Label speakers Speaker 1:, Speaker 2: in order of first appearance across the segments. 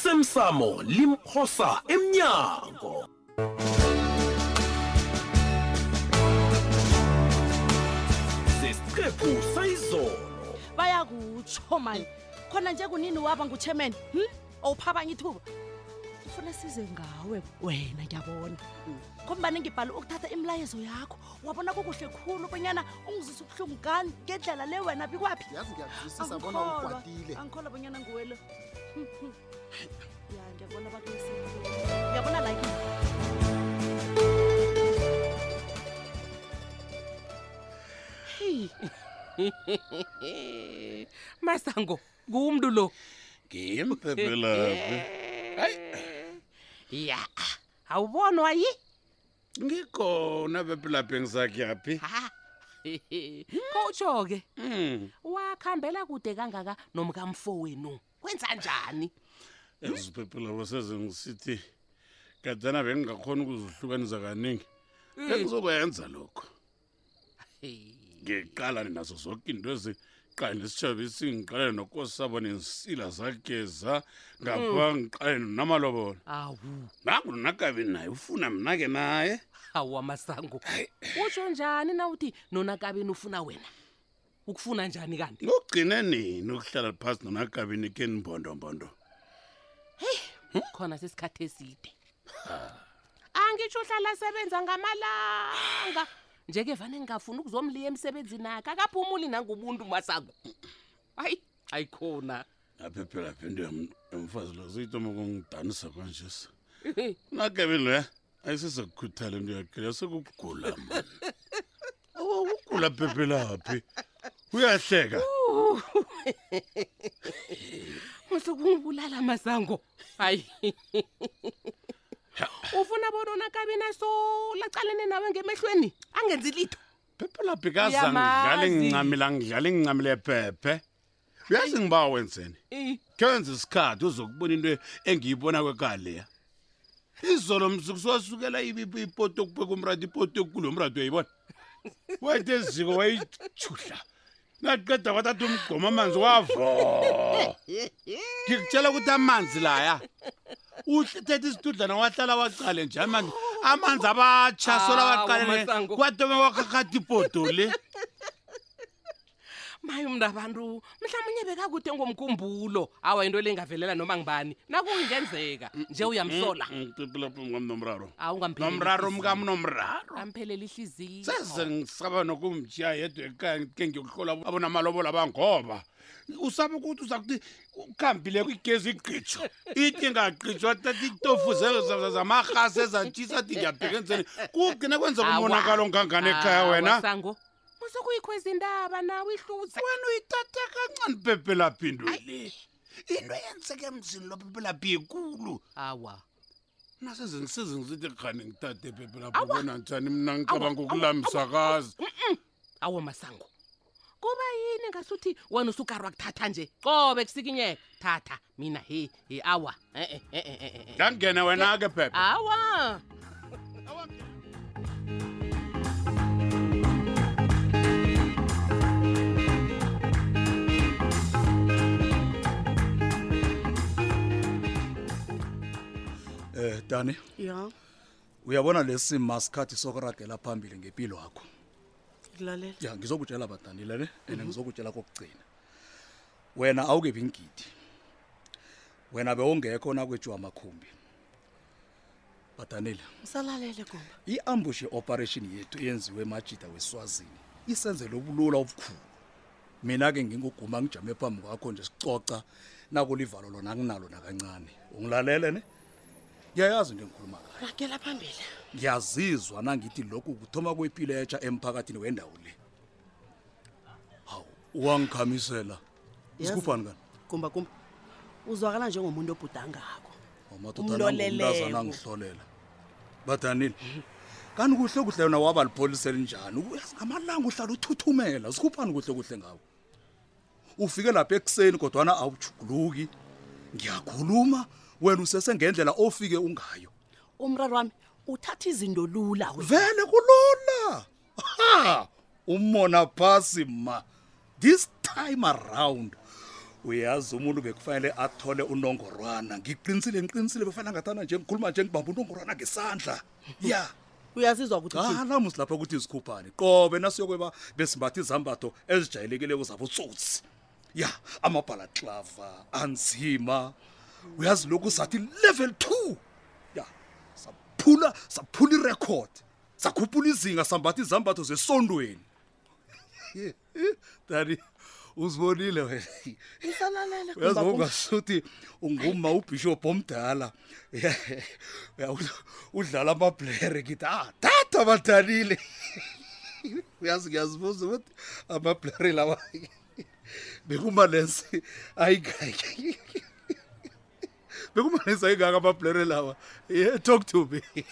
Speaker 1: osemsamo limphosa emnyango sesiqephu sayizolo
Speaker 2: bayakutsho mani khona nje kunini waba nguchairman hm? owuphabanye ithuba ufuna size ngawe wena ngiyabona kombani ngibhale ukuthatha imilayezo yakho wabona kukuhle khulu bonyana ungizisa ubuhlungu kani ngendlela le wena bikwaphi
Speaker 3: yazi ngiyakuzwisisa bona ukwatile
Speaker 2: angikholwa bonyana nguwelo ya ngiyabona bakulesi ngiyabona like heyi
Speaker 4: masango ngumntu lo
Speaker 5: ngimphephelaphi
Speaker 4: ya awubonwa yi
Speaker 5: ngikhona phephelaphi engisakuyaphi
Speaker 4: kotsho ke
Speaker 5: Mm,
Speaker 4: wakhambela kude kangaka nomkamfo wenu kwenza njani
Speaker 5: yazi uphephelapho seze ngisithi kadana bengingakhona ukuzihlukanisa kaningi bengizokwenza lokho ngiqalane nazo zonke into eziqalane nesitshabisi ngiqalane nokosi sabo nensila zageza ngapha ngiqalane namalobola
Speaker 4: awu
Speaker 5: nangu nonakabi naye ufuna mna-ke naye
Speaker 4: awu amasango utsho njani na uthi nonakabeni ufuna wena ukufuna njani kanti
Speaker 5: ngokugcine nini ukuhlala phasi nonakabini kenibhondombondo
Speaker 4: khona sesikhathi eside Ah. angitsho uhlala asebenza ngamalanga nje-ke vane ngingafuni ukuzomliya emsebenzini akhe akaphumuli nangubuntu masango hayi hayi khona
Speaker 5: aphephela-phi into yam- yomfazi lo seyitoma kungidanisa kwanjesi unakabi loya ayisesekukhuthala into yakhela sekukugula mani ukugula phephelaphi uyahleka
Speaker 4: musukungibulala masango hayi ufuna bona unakabina solacalene nawe ngemehlweni angenzi litho
Speaker 5: phephelaphi kaza ngidlale
Speaker 4: Uyamazi.
Speaker 5: ngincamile angidlale ngincamile phephe uyazi ngiba wenzeni
Speaker 4: Eh,
Speaker 5: khe wenza isikhathi uzokubona into engiyibona kwekaleya izolo msuku siwasukela ibiphi ipoto kubeka umrati ipoto kulo mrati uyayibona wethe eziko wayijudla naqeda kwathatha umgqoma amanzi wavo ngikutshela ukuthi amanzi laya uthetha isidudlana wahlala waqale nje amanzi amanzi abatsha sola
Speaker 4: Hawu,
Speaker 5: waqale
Speaker 4: Masango.
Speaker 5: kwatome wakhakhatha ipoto le
Speaker 4: maye mntu abantu mhlawumunye bekakude ngomkhumbulo awa into le ngavelela noma ngibani nakungenzeka nje uyamhlola
Speaker 5: Mm, ngiciphelapho ngamnomraro
Speaker 4: awungampheleli
Speaker 5: nomraro mkamnomraro
Speaker 4: amphelele ihliziyo
Speaker 5: sezengisaba nokumjiya yedwa ekhaya ke ngiyokuhlola abonamalobola bangoba usaba ukuthi uza kuthi ukuhambile kwigezi igqitsho ithi ngaqitshwa thatha itofu zamarhasi ezatshisa athi ngiyabhekenzeni kugcina kwenza kumonakalo ngangani ekhaya wena
Speaker 4: sango musukuyikho izindaba nawe ihluza
Speaker 5: wena uyithatha kancane phephelaphi into le into yenzeka emzini lophephelaphi yikulu
Speaker 4: awa
Speaker 5: nasezengisize ngisithi khani ngithathe phephelaphi ubona njani mna ngicabanga ukulamisakazi
Speaker 4: awa masango kuba yini ngasuthi wena usukarwa kuthatha nje cobe kusikinyeka thatha mina he he awa eh, eh, eh, eh, eh, eh.
Speaker 5: ngangena wena-ke phephe
Speaker 4: awa
Speaker 6: Eh Dani,
Speaker 7: ya
Speaker 6: uyabona lesi masikhathi sokuragela phambili ngempilo yakho.
Speaker 7: ngikulalela
Speaker 6: Ya, ngizokutshela badanile ne, ene ngizokutshela kokugcina. Wena awukebi ingidi. Wena bewungekho na kwethu amakhumbi. Badanile,
Speaker 7: usalalele gomba
Speaker 6: iambush operation yethu eyenziwe emajida weSwazini isenzele ubulula obukhulu. Mina ke nginguguma ngijame phambi kwakho nje sicoca nakulivalo lona kunalo nakancane. Ungilalele ne? Ngiyayazi into engikhuluma ngayo.
Speaker 7: ragela phambili
Speaker 6: ngiyazizwa nangithi lokhu kuthoma kwepiletsha emphakathini wendawo le hawu uwangikhamisela
Speaker 7: Yazi-
Speaker 6: isikufani kani
Speaker 7: gumba gumba uzwakala njengomuntu obhudangako
Speaker 6: amadodanaumntazana
Speaker 7: Umloleleko.
Speaker 6: angihlolela badanile kanti kuhle kuhle yona waba lipholise linjani Uyazi ngamalanga uhlala uthuthumela sikhuphani kuhle kuhle ngawo ufike lapha ekuseni kodwana awujuguluki ngiyakhuluma wena usesengendlela ofike ungayo
Speaker 7: umraro wami uthatha izinto lula we.
Speaker 6: vele kulula ha umona phasi ma this time around uyazi umuntu bekufanele athole unongorwana ngiqinisile ngiqinisile bekufanele angathana nje ngikhuluma nje ngibamba unongorwana ngesandla ya
Speaker 7: uyazizwa ukuthi
Speaker 6: Ah.
Speaker 7: uthini?
Speaker 6: alamusi lapha ukuthi izikhuphane qobe nasiyokweba besimbatha izambatho ezijayelekileko zabotsotsi ya amabhalaklava anzima uyazi lokhu sathi level two ya saphula saphula irekhodi sakhuphula izinga sambatha izambatho zesondweni tani uzibonile wena
Speaker 7: ngisalalele
Speaker 6: uyazi
Speaker 7: kumba-
Speaker 6: ngongasuthi unguma ubhishophu omdala Ya, u- udlala amabhlere ngithi ah tata badanile uyazi ngiyazibuza ukuthi amabhlere lawa bekumalensi ayingaki bekumalensi ayingaki amabhlere lawa ye talk to me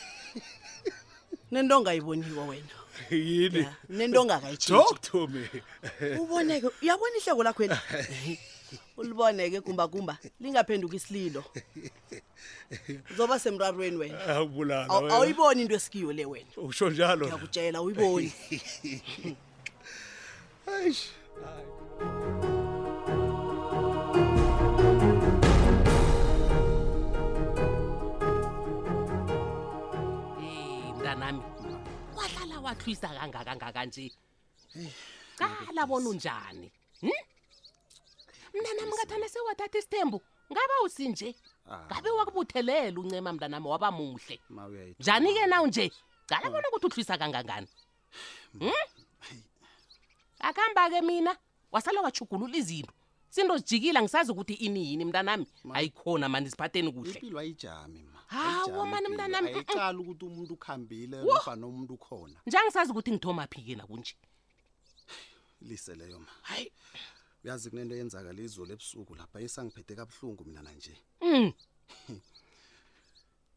Speaker 7: nento ongayiboniwo wena
Speaker 6: yini
Speaker 7: Ya, nento ongakayitshintshi
Speaker 6: talk to me
Speaker 7: uboneke uyabona ihleko lakho eli uliboneke kumbakumba lingaphenduka isililo zoba semrarweni wena
Speaker 5: Ah,
Speaker 6: angibulala
Speaker 7: Awu- awuyiboni into esikiyo le wena
Speaker 6: usho njalo
Speaker 7: ngiyakutshela uyiboni
Speaker 6: Eish.
Speaker 4: Eh, mntanami wahlala wahlwisa kangaka ngaka nje qala bona unjani hm? mntanami ngathana sewathatha isithembu ngaba usinje ngabe wakubuthelela uncema mntanami waba muhle njani-ke nawu nje cala bona ukuthi uhlwisa kangangani hm? akuhamba-ke mina wasala wajugulula izinto zinto zijikile angisazi ukuthi ini yini mntanami ayikhona mani siphatheni kuhle
Speaker 3: impilo ayijami ma
Speaker 4: Hawu,
Speaker 3: Ayijami
Speaker 4: mani
Speaker 3: ipilo.
Speaker 4: mntanami, mm-mm.
Speaker 3: ayicali ukuthi umuntu ukhambile nofana umuntu ukhona
Speaker 4: njengisazi ukuthi ngithomaphi-ke nakunje
Speaker 3: lise leyo ma hayi uyazi kunento eyenzakala izolo ebusuku lapha isangiphethe kabuhlungu mina nanje
Speaker 4: Mm.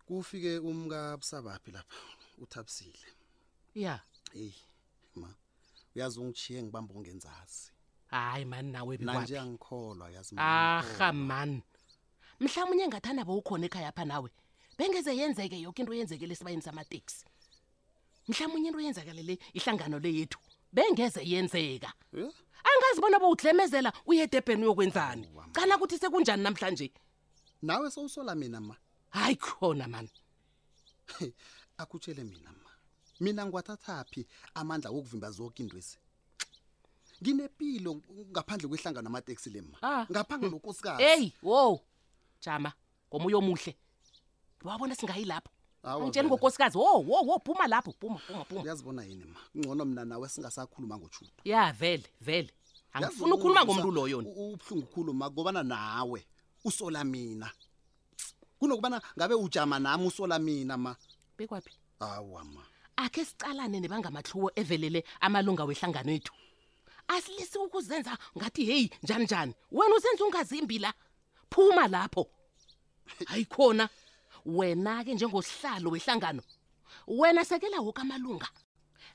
Speaker 3: kufike umkabusabaphi lapha uthabisile
Speaker 4: ya
Speaker 3: eyi ma uyazi ungichiye ngibamba ongenzazi
Speaker 4: hayi mani nawe
Speaker 3: nanje
Speaker 4: bikwaphi
Speaker 3: angikholwa yazi ma,
Speaker 4: aha
Speaker 3: angikholwa.
Speaker 4: mani mhlawumbe engathanda bowukhona ekhaya pha nawe bengeze yenzeke yoke into yenzekele esibayeni samateksi mhlawumbe into yenzakalele ihlangano le yethu bengeze yenzeka
Speaker 3: Eh?
Speaker 4: angazi bona bowudlemezela uye edebheni uyokwenzani cala ukuthi sekunjani namhlanje
Speaker 3: nawe sowusola mina ma
Speaker 4: hayi khona mani
Speaker 3: akutshele mina ma mina ngiwathathaphi amandla wokuvimba zonke indwezi nginempilo ngaphandle kwehlangano amateksi le ma
Speaker 4: Ah.
Speaker 3: ngaphandle lokosikazi
Speaker 4: eyi wo jama ngomoya omuhle wabona singayi lapho
Speaker 3: Awa,
Speaker 4: angitsheni
Speaker 3: vele.
Speaker 4: ngonkosikazi wo wo wo phuma lapho phuma phuma phuma
Speaker 3: uyazibona yini ma ngcono mina nawe singasakhuluma ngojuda
Speaker 4: ya vele vele angifuni ukukhuluma ngomntu loyo ni.
Speaker 3: ubuhlungu khuluma kobana nawe usola mina kunokubana ngabe ujama nami usola mina ma
Speaker 4: bekwaphi
Speaker 3: awa ma
Speaker 4: akhe sicalane nebangamahluwo evelele amalunga wehlangano yethu asilisi ukuzenza ngathi heyi njani njani wena usenza ungazimbi la phuma lapho hayi khona wena-ke njengosihlalo wehlangano wena sekela woke amalunga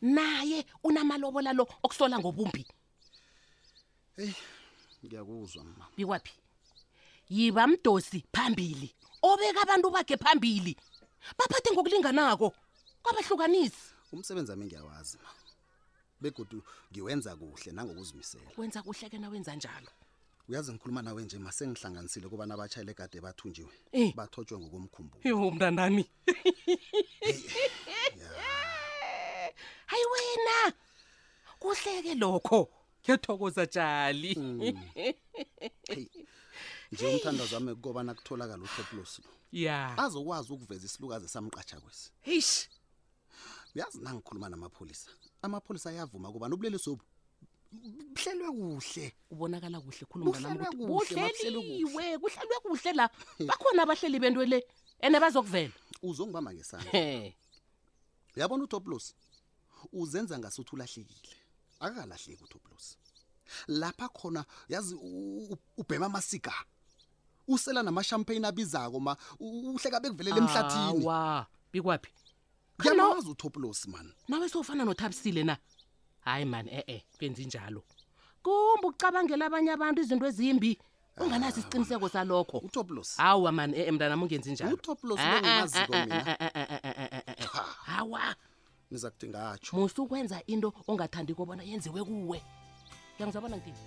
Speaker 4: naye unamalobola lo okusola ngobumbi
Speaker 3: ngiyakuzwa ma
Speaker 4: bikwaphi yiba mdosi phambili obeka abantu bakhe phambili baphathe ngokulinganako kwabahlukanisi
Speaker 3: umsebenzi wami ngiyawazi ma begodu ngiwenza kuhle nangokuzimisela
Speaker 4: wenza kuhleke nawenza njalo
Speaker 3: uyazi ngikhuluma nawe nje masengihlanganisile kubantu abatshayela egade bathunjiwe
Speaker 4: Eh.
Speaker 3: bathotshwe ngokomkhumbulo
Speaker 4: yo mntanami hayi wena kuhleke lokho ngiyathokoza tshali
Speaker 3: Mm. nje umthandazo wami kukobana kutholakala utoplos lo
Speaker 4: ya
Speaker 3: azokwazi ukuveza isilukazi samqatsha kwesi
Speaker 4: eish
Speaker 3: uyazi nangikhuluma namapholisa amapholisa ayavuma kubani ubulelesi obu buhlelwe kuhle
Speaker 4: ubonakala kuhle khulu mntanami
Speaker 3: Kuhlelwe
Speaker 4: ukuthi
Speaker 3: kuhle, makuhlelwe kuhle.
Speaker 4: buhleliwe kuhlelwe kuhle la bakhona abahleli bento le ene bazokuvela
Speaker 3: uzongibamba ngesandla
Speaker 4: he
Speaker 3: uyabona utoplos uzenza ngasuthi ulahlekile akakalahleki utoplos lapha khona yazi u- u- ubhema amasiga usela namashampagne abizako ma u- u- uhleka bekuvelele emhlathini
Speaker 4: wa bikwaphi
Speaker 3: ngiyamazi utoplos mani
Speaker 4: nawe sowufana nothabisile na hayi mani e-e benzi njalo kumbe ukucabangela abanye abantu izinto ezimbi
Speaker 3: Ah,
Speaker 4: unganaso isiqiniseko salokho
Speaker 3: utoplos
Speaker 4: hawa mani e-e mntanam ungenzi eh, njalo
Speaker 3: utoplos
Speaker 4: Ah, ah,
Speaker 3: bengimaziko
Speaker 4: ah,
Speaker 3: mina
Speaker 4: ah, ah, ah, ah, ah, ah, ah. hawa
Speaker 3: niza kuthi ngatsho
Speaker 4: musi ukwenza into ongathandi kobona yenziwe kuwe uyangizabona ngidini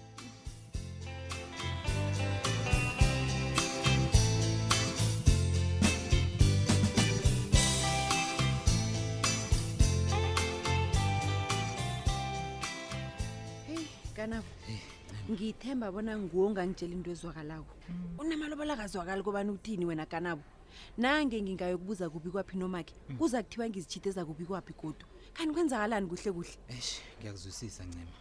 Speaker 8: kanabo ngithemba bona nguwo ongangitshela into ezwakalako unamalobola kazwakali kobani uthini wena kanabo nange ngingayokubuza kubi kwaphi nomakhe kuza kuthiwa ngizitshite zakubi kwaphi godu kanti kwenzakalani kuhle kuhle
Speaker 9: eish ngiyakuzwisisa ncema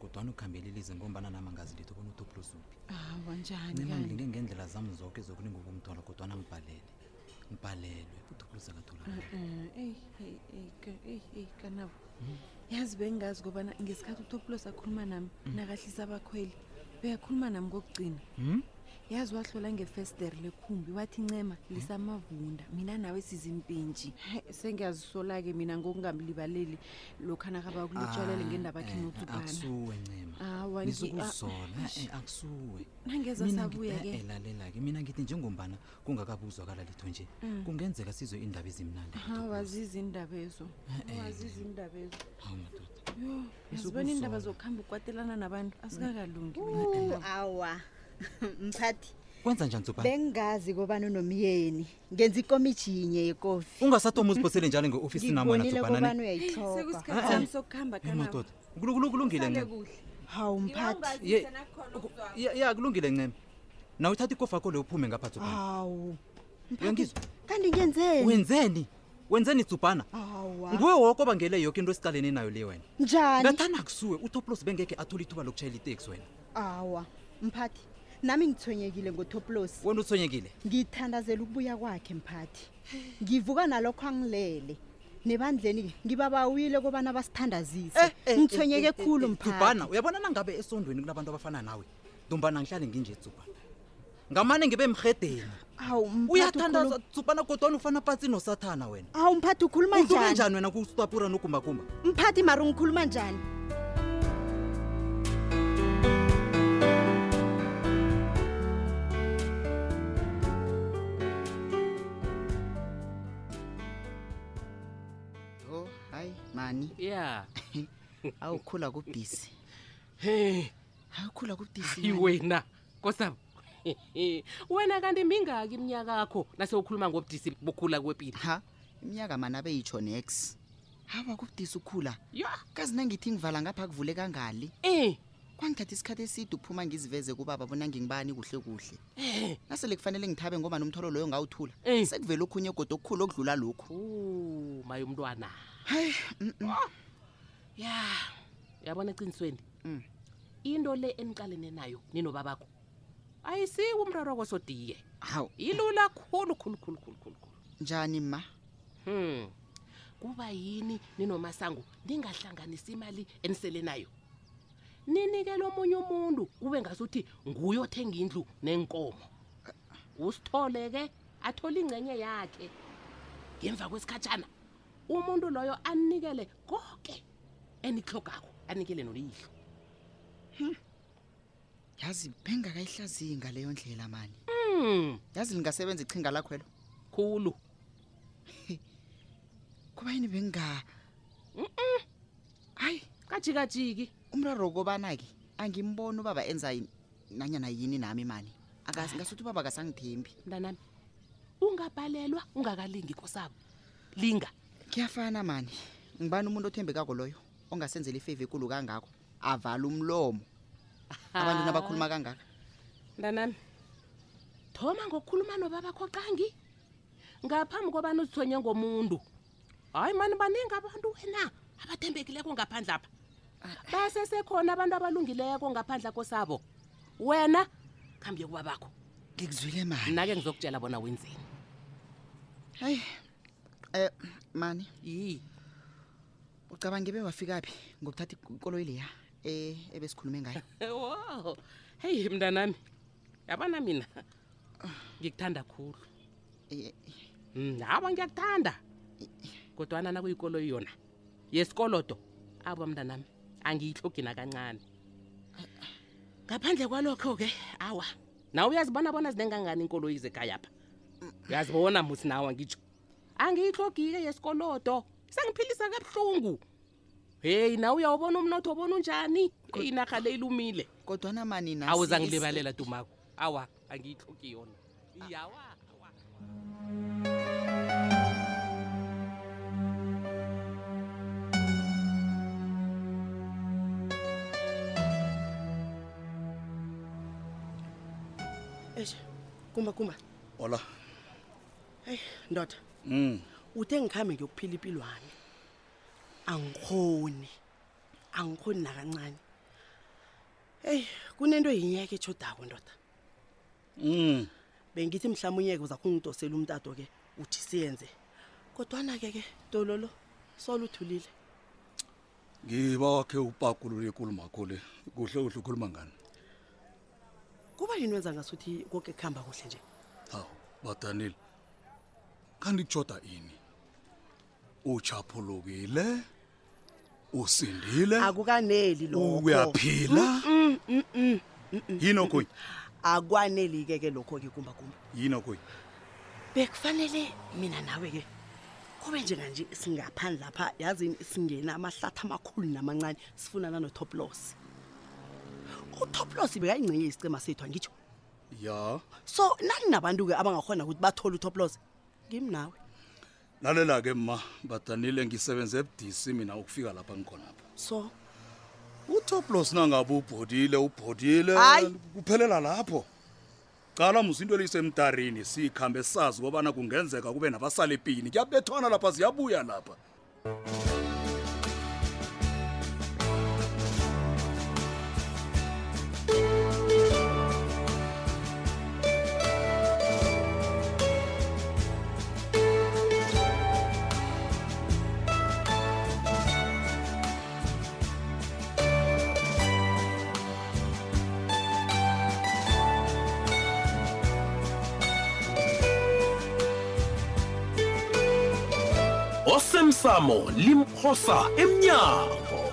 Speaker 9: kodwana ukuhambelelize ngombana nami angazi litho bona utoplos uphi
Speaker 8: awa
Speaker 9: ncema
Speaker 8: njani
Speaker 9: ngilinge ngendlela zami zoke zokuninga ukumthola kodwana ngibhalele ngibhalelwe utoplos
Speaker 8: Eh,
Speaker 9: akatholakali
Speaker 8: kanabo yazi bengingazi kobana ngesikhathi utopulos akhuluma nami nakahlisa abakhweli beyakhuluma nami kokugcina yazi wahlola ngefestere lekhumbi wathi ncema lisamavunda mina nawe sizimpenji sengiyazisola-ke mina ngokungamlibaleli lokhu nakaba kulitshalele ngendaba kinotubana
Speaker 9: Eh, akusuwe ncema
Speaker 8: awa
Speaker 9: nizokuzola akusuwe
Speaker 8: nangeza
Speaker 9: Mina
Speaker 8: sabuya
Speaker 9: ngithi-
Speaker 8: ke
Speaker 9: eh, eh, lalela-ke mina ngithi njengombana kungakabuzwakala litho nje
Speaker 8: Eh.
Speaker 9: kungenzeka sizwe iindaba ezimnandi
Speaker 8: awazizi indaba ezo awazizi indaba ezo
Speaker 9: hawu madoda
Speaker 8: yazibona iindaba
Speaker 9: Ngizokuzola.
Speaker 8: zokuhamba ukwatelana nabantu asikakalungi
Speaker 10: Uh, awa mphathi
Speaker 9: kwenza njani sobani
Speaker 10: bengazi kobani unomyeni ngenza ikomitjinye yekofi
Speaker 9: ungasathoma uziphosele njalo nge-ofisi namona
Speaker 10: ngibonile kobani
Speaker 9: sobani
Speaker 10: uyayithoba
Speaker 7: Ah,
Speaker 8: sekusikhathi sami sokuhamba kanabo
Speaker 9: madoda Kulungile- kulungile ncema
Speaker 10: hawu mphathi
Speaker 9: Ye- ya ya, kulungile ncema nawe uthatha ikofa yakho leyo uphume ngapha tsubhana
Speaker 10: hawu
Speaker 9: uyangizwa
Speaker 10: kanti ngenzeni
Speaker 9: wenzeni wenzeni tsubhana
Speaker 10: hawa
Speaker 9: nguwe woko obangele yoke into esiqalene nayo le wena
Speaker 10: njani
Speaker 9: ngathana kusuwe utoplos bengekhe athole ithuba lokutshayela iteksi wena
Speaker 10: awa mphathi nami ngithonyekile ngotoplosi
Speaker 9: wena uthonyekile
Speaker 10: ngithandazela ukubuya kwakhe mphathi ngivuka nalokho angilele nebandleni-ke ngibabawile kobana basithandazise
Speaker 11: Eh,
Speaker 10: ngithonyeke khulu mphathi
Speaker 9: tsubhana uyabona nangabe esondweni kunabantu abafana nawe dumbana ngihlale nginje tsubhana ngamane ngibe mrhedeni
Speaker 10: hawu mphathi
Speaker 9: uyathandaza
Speaker 10: ukhuluma-
Speaker 9: tsubhana kodwana ufana patsi nosathana wena
Speaker 10: hawu mphathi ukhuluma
Speaker 9: uduke
Speaker 10: njani
Speaker 9: njani wena kustapura nogumbagumba
Speaker 10: mphathi mari ngikhuluma njani
Speaker 11: yo hayi mani
Speaker 4: ya
Speaker 11: awukhula kubhisi
Speaker 4: hey
Speaker 11: awukhula kubhisi
Speaker 4: hayi wena kosabo wena kanti mingaki iminyaka yakho nasewukhuluma ngobudisi bokhula kwepilo
Speaker 11: ha iminyaka mani abeyitsho nex hawa kubudisi ukhula
Speaker 4: ya
Speaker 11: kazi nangithi ngivala ngapha kuvule kangali
Speaker 4: eh
Speaker 11: kwangithatha isikhathi eside uphuma ngiziveze kubaba bona ngingibani kuhle kuhle nasele kufanele ngithabe ngoba nomtholo loyo ngawuthula
Speaker 4: Eh.
Speaker 11: sekuvele okhunye goda okukhulu okudlula lokhu
Speaker 4: u maye umntwana
Speaker 11: hayi mm, mm.
Speaker 4: ya yabona eqinisweni
Speaker 11: Mm.
Speaker 4: into le eniqalene nayo ninobabakho ayisiwe umraro kwasodiye
Speaker 11: hawu
Speaker 4: ilula khulu khulu khulu khulu khulu khulu
Speaker 11: njani ma
Speaker 4: hmm kuba yini ninomasango ningahlanganisi imali enisele nayo ninikele omunye umuntu kube ngasuthi nguye othenga indlu nenkomo usithole-ke athole ingcenye yakhe ngemva kwesikhatshana umuntu loyo anikele konke enihlogako anikele noliyihlo
Speaker 11: yazi bengakayihlaziyi ngaleyo ndlela mani
Speaker 4: hmm
Speaker 11: yazi lingasebenza ichinga lakhwelo
Speaker 4: khulu
Speaker 11: kuba yini benginga hayi
Speaker 4: kajikajiki
Speaker 11: umraro wokobana-ke angimboni ubaba enza yi- nanyana yini nami mani Akas- ngasuthi ubaba kasangithembi
Speaker 4: mntanami ungabhalelwa ungakalingi kosabo linga
Speaker 11: kuyafana mani ngibani umuntu othembekako loyo ongasenzela ifeva ekulu kangako avala umlomo abantu nabakhuluma kangaka
Speaker 4: mntanami thoma ngokukhuluma nobabakho qangi ngaphambi kobani uzithonye ngomuntu hayi mani baningi abantu wena abathembekileko ngaphandle apha basesekhona abantu abalungileko ngaphandle kosabo wena khambi kubabakho
Speaker 11: ngikuzwile mani
Speaker 4: mna-ke ngizokutshela bona wenzeni
Speaker 11: hayi um mani
Speaker 4: yi
Speaker 11: ucabange bewafika phi ngokuthatha ikoloyi leya eh, ebesikhulume ngayo
Speaker 4: wo heyi mntanami yabana mina ngikuthanda khulu
Speaker 11: Eh,
Speaker 4: Mm, awa ngiyakuthanda kodwana nakuyikolo yona yesikolodo aba mntanami angiyihlogi nakancane ngaphandle kwalokho-ke awa nawe uyazibona bona zinengangani inkoloyi zekayapha uyazibona musi nawe angitsho angiyihlogike yesikolodo sengiphilisa kabuhlungu heyi nawe uyawubona umnotho obona unjani inarha le ilumile
Speaker 11: kodwana mani nasi-
Speaker 4: awuzangilibalela tumako awa angiyihlogi yona iyawa awa
Speaker 7: kumba kumba
Speaker 6: ola
Speaker 7: heyi ndoda
Speaker 6: mm.
Speaker 7: uthe ngikhambe ngiyokuphila impilwami angikhoni angikhoni nakancane eyi kunento yinyeke etshodako ndoda
Speaker 3: Hmm.
Speaker 6: mm.
Speaker 7: bengithi mhlawumunyeke uza kungidosela umtato ke uthi siyenze kodwana-ke ke dololo solo uthulile
Speaker 6: ngibakhe upakulule ikulumakho le kuhle kuhle ukhuluma ngani
Speaker 7: kuba yini wenza ngasuthi koke kuhamba kuhle nje
Speaker 6: hawu badanile kanti kujoda ini uchaphulukile usindile
Speaker 7: akukaneli lokho
Speaker 6: Uyaphila?
Speaker 7: Mm, mm, mm, mm, mm.
Speaker 6: yini okhunye
Speaker 7: akwaneli-ke ke lokho-ke kumba kumba
Speaker 6: yini okhunye
Speaker 7: bekufanele mina nawe-ke kube njenganje singaphani lapha yazini singena amahlatha amakhulu namancane sifunana notoplos utoplos bekayingcenye isicema sethu angitsho
Speaker 6: ya
Speaker 7: so naninabantu-ke abangakhona ukuthi bathole utoplos ngimi nawe
Speaker 6: lalela-ke ma badanile ngisebenze ebudisi mina ukufika lapha ngikhonapha
Speaker 7: so
Speaker 6: utoplos nangabe ubhodile ubhodile kuphelela lapho cala muzinto eliyisemtarini siyikhambe sazi kobana kungenzeka kube nabasalepini kuyabethwana lapha ziyabuya lapha
Speaker 1: osemsamo limphosa emnyango